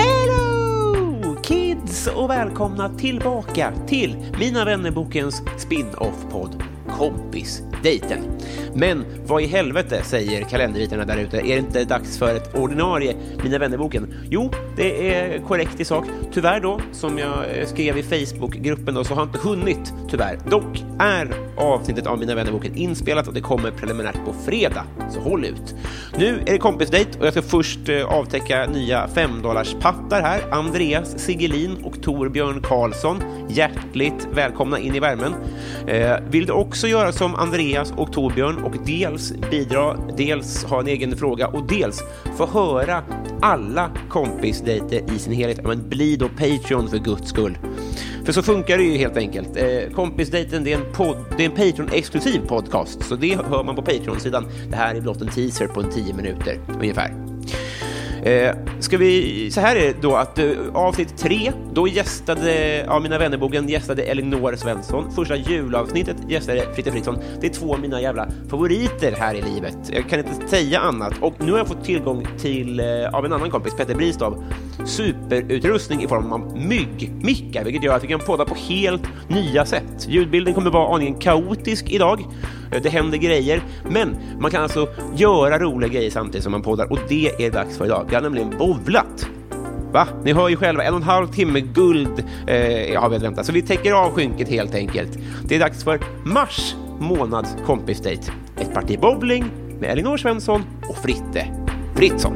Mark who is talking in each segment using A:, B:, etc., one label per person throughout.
A: Hello kids och välkomna tillbaka till Mina vännerbokens spin-off-podd Kompisdejten. Men vad i helvete säger kalenderritarna där ute? Är det inte dags för ett ordinarie Mina vännerboken? Jo, det är korrekt i sak. Tyvärr då, som jag eh, skrev i Facebookgruppen då, så har jag inte hunnit tyvärr. Dock är avsnittet av Mina vännerboken inspelat och det kommer preliminärt på fredag, så håll ut. Nu är det kompisdejt och jag ska först eh, avtäcka nya 5 pattar här. Andreas Sigelin och Torbjörn Karlsson, hjärtligt välkomna in i värmen. Eh, vill du också göra som Andreas och Torbjörn och dels bidra, dels ha en egen fråga och dels få höra alla kompisdejter i sin helhet, ja, men bli då Patreon för guds skull. För så funkar det ju helt enkelt. Eh, kompisdejten det är en, podd, det är en Patreon-exklusiv podcast, så det hör man på Patreon-sidan. Det här är blott en teaser på en 10 minuter ungefär. Eh, ska vi, så här är det då att eh, avsnitt tre, då gästade, av mina vännerboken gästade Elinor Svensson. Första julavsnittet gästade Fritte Fritzson. Det är två av mina jävla favoriter här i livet. Jag kan inte säga annat. Och nu har jag fått tillgång till, eh, av en annan kompis, Petter Bristav, superutrustning i form av myggmickar, vilket gör att vi kan podda på helt nya sätt. Ljudbilden kommer vara aningen kaotisk idag. Eh, Det händer grejer, men man kan alltså göra roliga grejer samtidigt som man poddar och det är dags för idag. Jag har nämligen bovlat. Va? Ni hör ju själva, en och en halv timme guld eh, har vi att vänta. Så vi täcker av skynket helt enkelt. Det är dags för mars månads kompisdejt. Ett parti bowling med Elinor Svensson och Fritte Fritzson.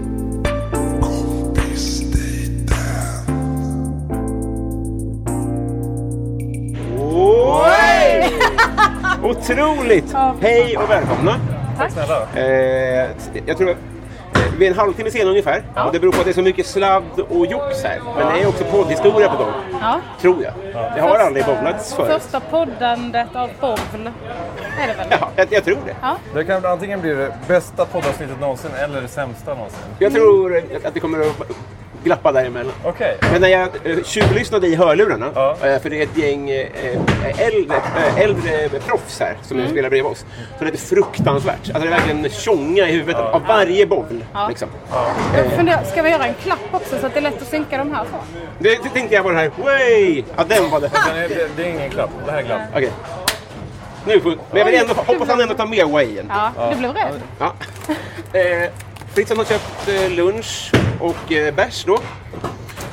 A: Oj! Otroligt! Hej och välkomna! Tack eh, Jag tror eh, vi är en halvtimme sen ungefär. Och det beror på att det är så mycket sladd och jox här. Men det är också poddhistoria på gång.
B: Ja.
A: Tror jag. Det har aldrig bowlats förut.
B: Första poddandet av bowl är det väl?
A: Ja, jag, jag tror det.
C: Det kan antingen bli det bästa poddavsnittet någonsin eller det sämsta någonsin.
A: Jag tror att- att det kommer att glappa däremellan.
C: Okej.
A: Men när jag eh, tjuvlyssnade i hörlurarna,
C: Ja.
A: eh, för det är ett gäng eh, eh, äldre, eh, äldre proffs här som spelar bredvid oss. Så det är fruktansvärt. Alltså det är verkligen tjonga i huvudet av varje boll.
B: Ja.
A: Liksom.
B: Jag funderar, ska vi göra en klapp också så att det är lätt att synka de här två?
A: Det, det tänkte jag på den här, way! Ja, den var det.
C: Men det, det, det är ingen klapp. Det här är glapp.
A: Okej. Nu får, men jag vill ändå, hoppas han ändå tar med wayen.
B: Ja, du blev rädd.
A: Ja. Eh, Fritzson har köpt eh, lunch och eh, bärs då.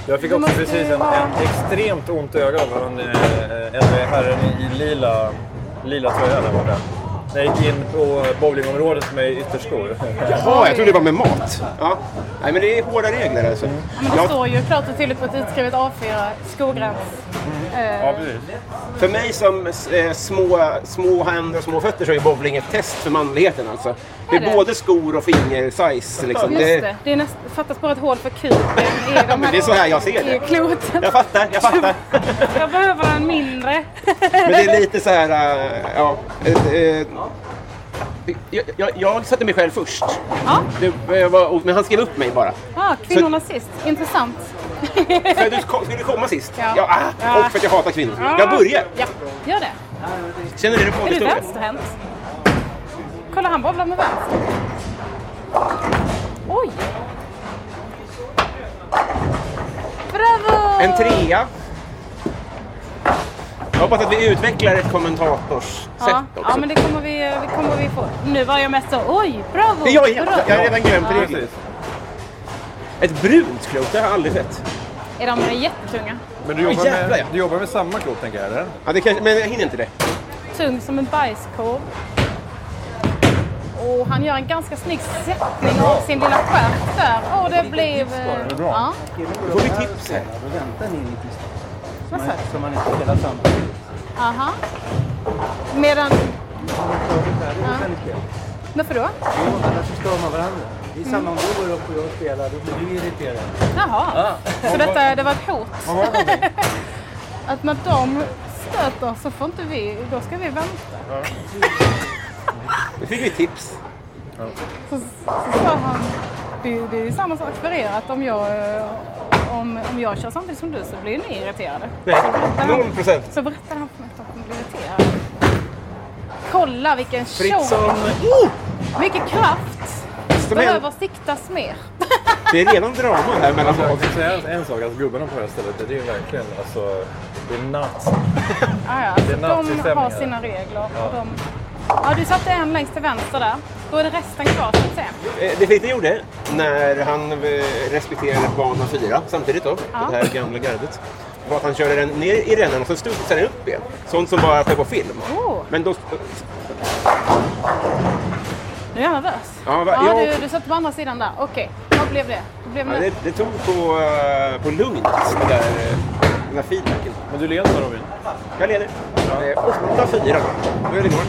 C: Jag fick också precis en, en extremt ont i ögat av en, eh, en herren i lila, lila tröja där borta. När jag gick in på bowlingområdet med ytterskor.
A: Jaha, jag trodde det var med mat. Ja. Nej, men det är hårda regler alltså.
B: Ja, Men det
A: Ja.
B: står ju klart och tydligt på ett utskrivet A4, skogräns.
C: Ja, precis.
A: För mig som eh, små, små händer och små fötter så är bowling ett test för manligheten alltså. Det
B: Är
A: är
B: det?
A: både skor och fingersize liksom.
B: Just det, det är näst, fattas bara ett hål för kuken i de här
A: det är så här jag ser det.
B: i kloten.
A: Jag fattar, jag fattar.
B: Jag behöver en mindre.
A: Men det är lite så här, eh, ja. eh, eh, jag, jag, jag satte mig själv först.
B: Ja,
A: Det, eh, var, och- men han skrev upp mig bara.
B: ah, kvinnorna sist. Intressant.
A: För att du ko- skulle komma sist.
B: Ja.
A: Ja. ah, och för att jag hatar kvinnor. Jag börjar.
B: Ja, gör det.
A: Känner du det på
B: Är du
A: historien?
B: vänsterhänt? Kolla, han bobblar med vänster. Oj! Bravo!
A: En trea. Jag hoppas att vi utvecklar ett kommentatorssätt
B: Ja.
A: också.
B: ja, men det kommer vi, det kommer vi få. Nu var jag mest så, oj, bravo!
A: Jag, jag,
B: bra."
A: jag har redan glömt
B: Ja.
A: reglerna. Ett brunt klot, det har jag aldrig sett.
B: Är de jättetunga?
C: Men du jobbar,
A: jävlar, ja.
C: med, du jobbar med samma klot, tänker jag, eller?
A: Ja, det kanske, men jag hinner inte det.
B: Tung som en bajskorv. Och han gör en ganska snygg sättning av sin lilla stjärt där. Och det blev... eh,
C: det är bra.
B: Ja,
A: Då får vi tips här.
B: vad sa du?
D: Så man inte spelar samtidigt.
B: Aha. Medan...
D: Ja.
B: Varför då?
D: Jo, annars så stör man varandra. Det är samma om du går upp och jag spelar, då blir du irriterad.
B: Jaha. Så detta, det var ett hot? Att när de stöter så får inte vi... Då ska vi vänta.
A: Nu fick vi tips.
B: Så, så sa han... Det, det är samma sak för er att om jag... eh, Om, om jag kör samtidigt som du så blir ni irriterade.
A: Noll procent.
B: Så berättade han för mig att hon blev irriterad. Kolla vilken
A: Fritzson.
B: tjong! Mycket kraft!
A: Som
B: Behöver
A: en,
B: siktas mer.
A: det är redan drama här mellan
C: Jag
A: oss.
C: kan säga en- en sak, alltså gubbarna på det här stället, det är ju verkligen alltså... Det är nuts.
B: Ah, ja, alltså,
C: Det är
B: de har
C: nazistämningar.
B: sina regler. Och de... ja, du satte en längst till vänster där. Då är det resten kvar så att säga.
A: Eh, Det Fritte gjorde när han eh, respekterade bana 4 samtidigt då,
B: Ja.
A: det här gamla gardet, var att han körde den ner i rännan och så studsade den upp igen. Sånt som bara sker på film.
B: Oh.
A: Men då...
B: Nu är jag nervös.
A: Ja, va-
B: ja,
A: jag-
B: du, du satte på andra sidan där. Okej, vad blev det? Vad blev
A: Ja,
B: det?
A: det, det tog på, eh, på lugnet, det där, eh, den där feedbacken.
C: Men du leder Robin.
A: Jag leder. Eh, 8-4. Då är det klart.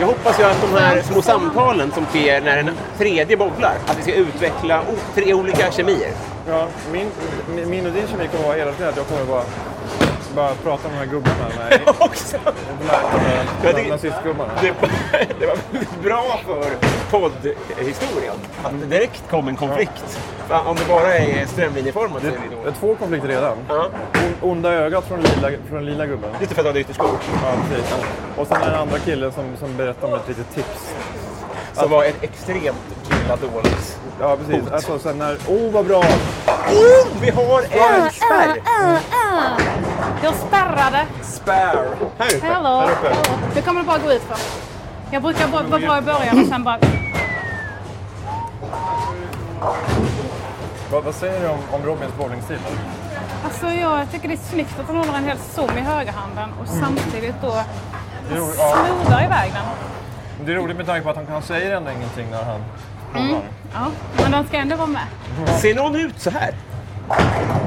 A: Jag hoppas ju att de här små samtalen som sker när den tredje bollar, att vi ska utveckla o- tre olika kemier.
C: Ja, min, min- min och din kemi kommer vara hela tiden att jag kommer bara, bara prata med de här gubbarna. Med, med,
A: Också.
C: med,
A: Jag
C: med
A: tycker-
C: nazistgubbarna.
A: Det, det var väldigt bra för poddhistorien att direkt kom en konflikt. Fan, Om det bara är strömlinjeformat så är det
C: Det är
A: dåligt.
C: två konflikter redan.
A: Ja.
C: On- Onda ögat från lila, från lila gubben.
A: Lite för att du hade ytterskor.
C: Ja, precis. Och sen den andra killen som, som berättar om ett litet tips.
A: Som var ett extremt illa dåligt.
C: Ja, precis. Alltså sen när... Oh, vad bra!
A: Oh, vi har en spärr!
B: Jag spärrade.
C: Spare!
A: Här uppe.
B: Hello.
C: Här uppe.
B: Hello. Det kommer det bara gå ut för. Jag brukar bara vara bra i början och sen bara...
C: Vad, vad säger du om, om Robins bowlingstil? då?
B: Alltså jag tycker det är snyggt att han håller en hel zoom i högerhanden och
A: Mm.
B: samtidigt då
C: Det är, roligt, ja,
B: smoothar iväg den.
C: det är roligt med tanke på att han, han säger ändå ingenting när han kollar.
B: Ja, men den ska ändå vara med.
A: Ser någon ut så här?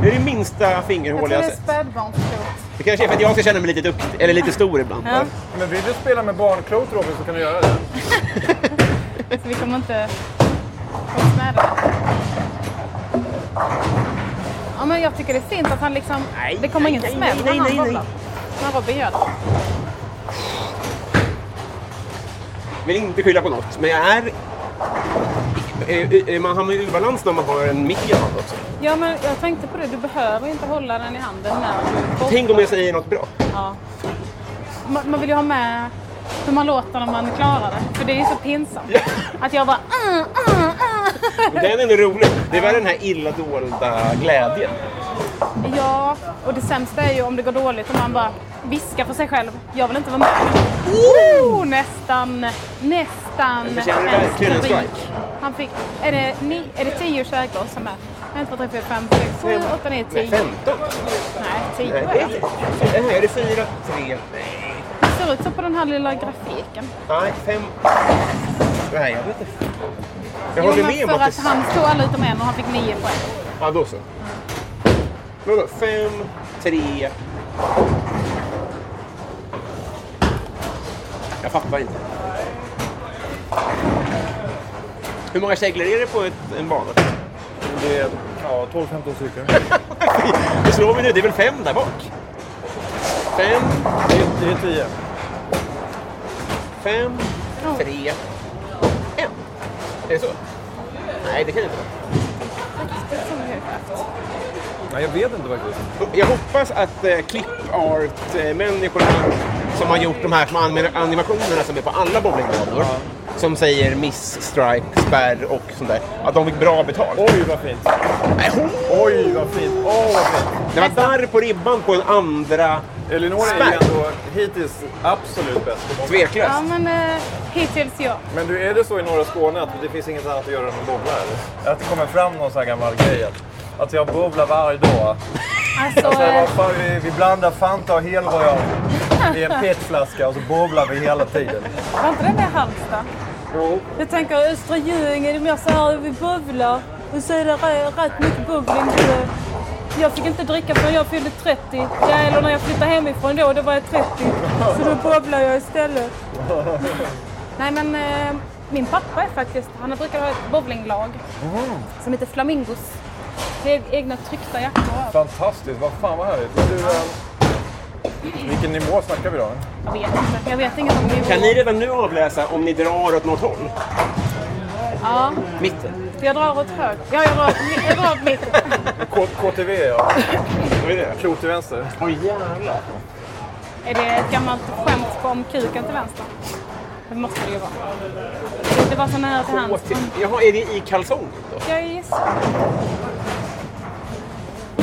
A: Det är det minsta
B: Jag tror
A: fingerhål
B: det
A: jag
B: är
A: sett.
B: spädbarnsklot.
A: Det kanske är för att jag ska känna mig lite duktig, eller lite stor ibland.
B: Ja.
C: Men vill du spela med barnklot Robin så kan du göra det.
B: Så vi kommer inte få oss med det. Ja, men jag tycker det är fint att han liksom...
A: Nej,
B: det
A: nej,
B: kommer ingen
A: nej,
B: smäll
A: nej,
B: när han
A: nej, nej.
B: bollar. När Robin gör det.
A: Vill inte skylla på något, men jag är... Eh, eh, Man hamnar ju i obalans när man har en mick i hand också.
B: Ja, men jag tänkte på det. Du behöver inte hålla den i handen när du bollar.
A: Tänk om jag säger något bra.
B: Ja. Man, man vill ju ha med hur man låter när man klarar det. För det är ju så pinsamt. Att jag bara... "Ah, ah, ah."
A: Den är ändå rolig. Det var den här illa dolda glädjen.
B: Ja, och det sämsta är ju om det går dåligt och man bara viskar för sig själv. Jag vill inte vara med. Oh, nästan, nästan
A: Men förtjänar det verkligen en strike?
B: Han fick, är det, ni, är det tio käglor som är? 1, 2, 3, 4, 5, 6, 7, 8, 9, 10. Nej,
A: 15?
B: 10
A: Nej,
B: är
A: det är
B: det.
A: inte. Nej, är det 4, 3?
B: Det ser ut så på den här lilla grafiken.
A: Nej, 5. Nej, jag vet inte. Jag
B: Jo,
A: håller med
B: men
A: om
B: för
A: att
B: att
A: det...
B: han stod alla utom en och han fick nio poäng.
A: Ja, då så. Men vadå? 5, 3... Jag fattar inte. Hur många käglor är det på ett, en bana?
C: Det är ja, 12-15 stycken.
A: Det slår vi nu. Det är väl fem där bak? Fem,
C: Det är- Det är 10.
A: fem, tre, en. Är det så? Nej, det kan inte vara.
C: Nej, jag vet inte faktiskt.
A: Jag hoppas att eh, clip-art-människorna som har gjort de här små anim- animationerna som är på alla bowlingbanor, som säger miss, strike, spärr och sånt där, att de fick bra betalt.
C: Oj, vad fint.
A: Nej, ho!
C: Oj, vad fint. Åh, vad fint.
A: Det var där på ribban på en andra eh,
C: Elinor är ju
A: Smack.
C: ändå hittills absolut bäst på bollar.
A: Tveklöst.
B: Ja, men eh, hittills ja.
C: Men du, är det så i norra Skåne att det finns inget annat att göra än att bowla? eller? Att det kommer fram någon sån här gammal grej? att- Att jag bowlar varje dag.
B: Alltså,
C: Så här,
B: eh,
C: vad fan, vi, vi blandar Fanta och helrör i en petflaska och så bowlar vi hela tiden.
B: var inte det med Halmstad?
C: Jo.
B: Jag tänker Östra Göinge, det är mer så här vi bubblar. Och så är det re- rätt mycket bubbling. Jag fick inte dricka förrän jag fyllde 30. Ja, eller när jag flyttade hemifrån då, då var jag 30. Så då bubblade jag istället. Nej men eh, min pappa är faktiskt, han brukar ha ett bowlinglag som heter Flamingos. Det är egna tryckta jackor och allt.
C: Fantastiskt, vad fan vad härligt. Men Du, eh, vilken nivå snackar vi då?
B: Jag vet inte, jag vet inget om nivåer.
A: Kan ni redan nu avläsa om ni drar åt något håll?
B: Ja,
A: Mitten?
B: jag drar åt höger. Ja, jag drar, jag drar åt mitt.
C: K- KTV ja,
A: Vad är det?
C: klot till vänster.
A: Åh jävlar.
B: Är det ett gammalt skämt på om kuken till vänster? Det måste det ju vara. Det- Det var så nära till hands. men
A: Jaha, är det i kalsongen då?
B: Jag gissar.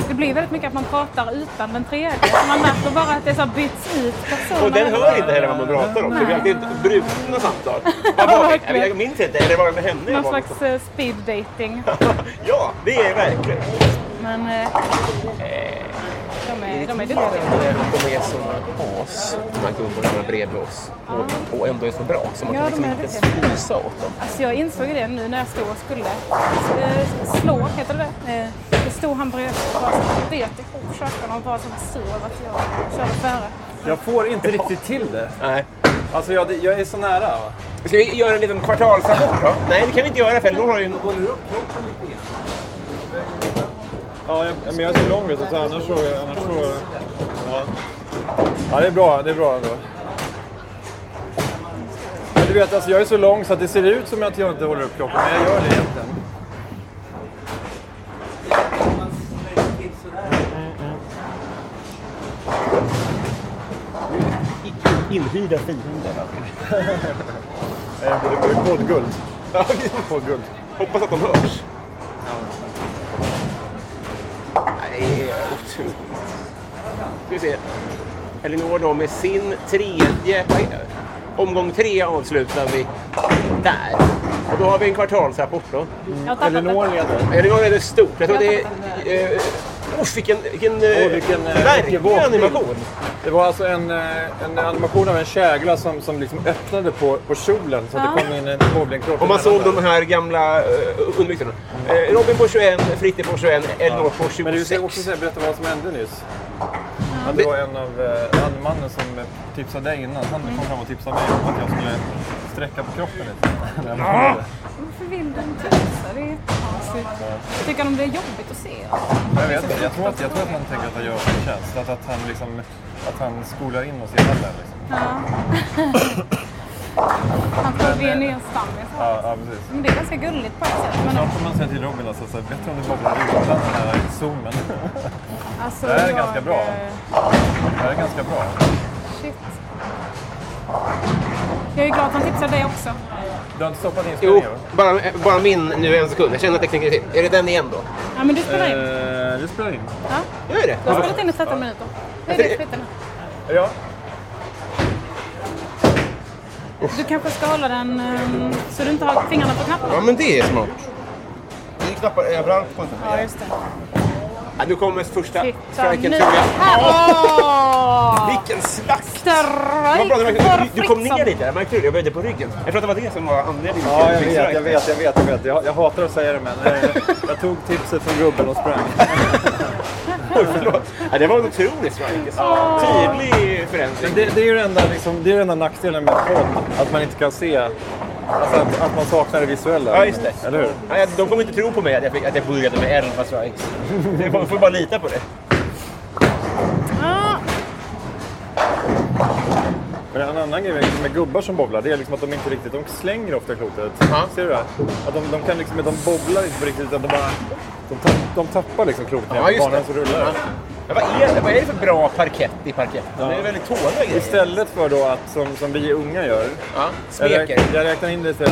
B: Det blir väldigt mycket att man pratar utan den tredje. Så Man märker bara att det så här byts ut personer.
A: Och den hör inte heller vad man pratar om. Så vi har alltid brutna samtal. Vad var det? Jag minns inte. Eller var det med henne? jag
B: Någon
A: var med?
B: slags eh, speed dating.
A: Ja, det är verkligen.
B: Men eh, de är, de
A: Irriterande
B: är duktiga.
A: när de är såna as, de här gubbarna bredvid oss. Och, och ändå är så bra, så man
B: Ja,
A: kan
B: de
A: liksom
B: är
A: inte
B: duktiga.
A: fnysa åt dem.
B: Alltså jag insåg ju det nu när jag stod och skulle eh, slå, heter det det? Eh, Då stod han bredvid och var så bet ihop köken och var så sur över att jag körde före.
C: Jag får inte riktigt till det.
A: Nej.
C: Alltså jag, jag är så nära. Va?
A: Ska vi göra en liten kvartalsrapport då? Nej, det kan vi inte göra för Elinor har ju...
C: Ja, jag, men jag är så lång vet du, så annars så... Annars så ja. ja, det är bra. Det är bra ändå. Men du vet, alltså, jag är så lång så att det ser ut som att jag inte håller upp klockan, men jag gör det egentligen.
A: Inhyrda fiender.
C: Nej, Jag borde bli poddguld. Poddguld.
A: Hoppas att de hörs. Nej, otroligt. Ska vi se. Elinor då med sin tredje... vad är det? Omgång tre avslutar vi där. Och då har vi en kvartalsrapport då.
C: Mm.
B: Jag har tappat
C: Elinor
B: det.
C: leder.
A: Elinor är det stort. Jag tror det är... Eh, usch, vilken, vilken, oh,
C: Åh, vilken, eh, vilken
A: verklig
C: våt
A: animation!
C: Det var alltså en, eh, en animation av en kägla som, som liksom öppnade på, på kjolen så att det kom in en bowlingklocka.
A: Om man såg
C: emellan
A: de
C: där.
A: här gamla uh, underbyxorna. Eh, Robin på 21, Fritte på 21, Elinor på 26.
C: Men du ska också säga, berätta vad som hände nyss. Ja, det var en av eh, han mannen som eh, tipsade dig innan. Han kom fram och tipsade mig om att jag skulle sträcka på kroppen lite. När jag bowlade.
B: Varför vill de inte visa? Det är jättekonstigt. Tycker de det är jobbigt att se?
C: jag vet inte. Jag tror, att, jag tror att han tänker att jag gör oss en tjänst. Att, att, han liksom, att han skolar in oss i hallen. Liksom.
B: Han tar vi ner en stammis.
C: Ja, ja, precis.
B: Men det är ganska gulligt på ett sätt. Men
C: Snart får man säga till Robin alltså, så här, bättre om du bowlar utan den här zoomen.
B: alltså,
C: det här är
B: jag,
C: ganska bra.
B: eh,
C: Det här är ganska bra.
B: Shit. Jag är glad att han tipsade dig också.
C: Du har inte stoppat
A: Jo,
C: inspelningen?
A: bara, bara min nu en sekund. Jag känner tekniken till. Är det den igen då?
B: Ja, men du spelar in.
C: Eh, du spelar in.
B: Ja.
A: Jag är det.
B: Du har spelat in i 13 minuter. Det
C: Alltså,
B: är ditt skit nu.
C: Ja.
B: Du kanske ska hålla den ehm, så du inte har fingrarna på knapparna.
A: Ja, men det är smart. Det är knappar överallt på den
B: Ja, just det.
A: ja, Nu kommer första
B: Titta
A: Franken
B: nu.
A: Tuga.
B: Här! Åh!
A: Vilken slakt! Vad bra, det var-
B: Större
A: du, du kom ner lite, jag märkte du det? Jag böjde på ryggen. Jag tror att det var det som var anledningen.
C: Ja, jag
A: till
C: vet, jag
A: Franken.
C: vet, jag vet, jag vet. Jag, jag hatar att säga det men eh, jag tog tipset från gubben och sprang.
A: Oj, förlåt. Ja, det var en otrolig strike. alltså. Tydlig förändring.
C: Men det, det är ju den enda, liksom, det är den enda nackdelen med podd, att man inte kan se, alltså att, att man saknar det visuella.
A: Ja, just det.
C: Eller hur?
A: Ja, jag- de kommer inte tro på mig att jag, fick, att jag började med 11 strikes. Man får bara lita på det.
B: Ah,
C: Men en annan grej med- med gubbar som bobblar, det är liksom att de inte riktigt, de slänger ofta klotet.
A: Ja.
C: Ser du det? Att de, de kan liksom, de bobblar inte på riktigt utan de bara, de, tapp, de tappar liksom klotet ner på banan så rullar det.
A: Ja, vad, är det, vad är det för bra parkett i parkett? Det är väldigt tåliga grejer.
C: Istället för då att, som, som vi unga gör,
A: Ja,
C: Jag,
A: smeker.
C: räk, jag räknar in lite,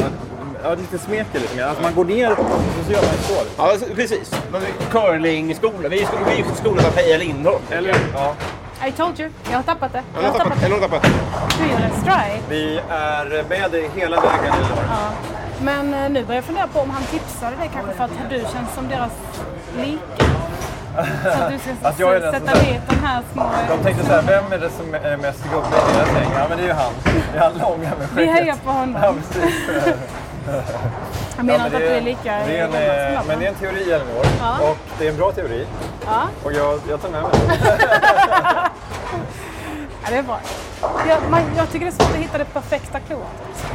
C: ja, lite smeker lite mer. Alltså man går ner och så gör man så.
A: Ja, alltså, precis. Men Curlingskola. Vi är sko- vi är ju skolan av Peja Lindholm.
C: Eller? Ja.
B: Eller I told you. Jag har tappat det. Jag
E: Eller
B: har
E: har
B: tappat
E: tappat- eller
B: det.
E: har tappat.
B: Fyra strike.
C: Vi är med dig hela vägen. Elinor.
B: Ja. Men eh, nu börjar jag fundera på om han tipsade dig kanske för att du känns som deras like. Så att du ska
C: Att jag är den som-
B: sätta dit de här små...
C: De tänkte så här, vem är det som är mest gubbe i deras gäng? Ja, men det är ju han. Det är han långa med
B: Vi
C: skägget.
B: hejar på
C: Ja,
B: honom.
C: precis.
B: Jag menar inte
C: Ja,
B: att
C: men
B: vi
C: det-
B: är lika
C: det är en,
B: gamla som
C: eh,
B: dem,
C: Men det är en teori, Elinor.
B: Ja.
C: Och det är en bra teori.
B: Ja,
C: Och jag, jag tar med mig den.
B: ja, det är bra. Jag, man, jag tycker det är svårt att hitta det perfekta klotet.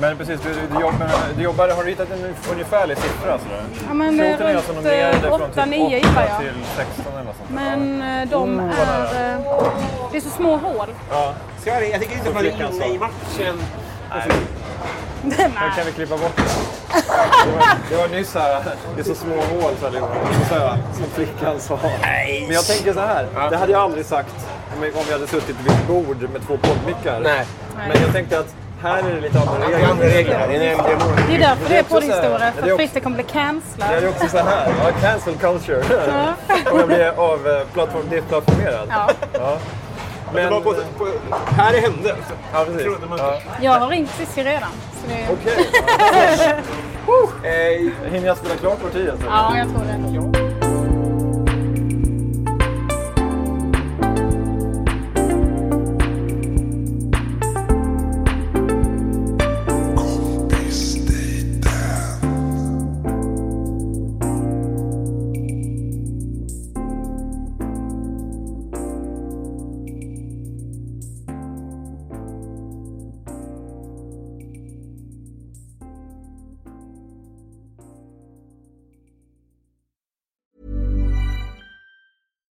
C: Men precis, du, du, jobbar, du jobbar, har du hittat en ungefärlig siffra? Sådär?
B: Ja, men eh,
C: Kvoten är alltså
B: runt eh,
C: numrerad från
B: 8, 9
C: typ 8
B: gillar jag.
C: till 16 eller något sånt. där.
B: Men eh, de
C: Oh, vad
B: är... eh, Det är så små hål.
C: Ja.
A: Ska jag, jag tycker inte att man är inne i matchen. Alltså,
C: Nu kan vi klippa bort det. Det var, det var nyss här, det är så små hål så allihopa. Så här, Som flickan sa. Men jag tänker så här, det hade jag aldrig sagt om vi- om vi hade suttit vid ett bord med två poddmickar.
A: Nej.
C: Men jag tänkte att här är det lite andra
A: Det är andra
C: regler.
A: regler. här. Det är en äldre mål.
B: Det är därför det är
C: också så här-
B: poddhistoria,
C: det är
B: för att
C: också-
B: Fritte kommer bli
C: Det är
B: cancellad.
C: också så här, ja, cancel culture. Om jag blir av eh, plattform, deplattformerad.
B: Ja.
C: Men,
E: Bara på, på, här det hände. alltså.
C: ja, precis. Ja.
B: Jag har ringt Cissi redan. Så det är...
C: Okej.
E: Eh,
C: Hinner jag spela klart vår tid? alltså?
B: Ja, jag tror det.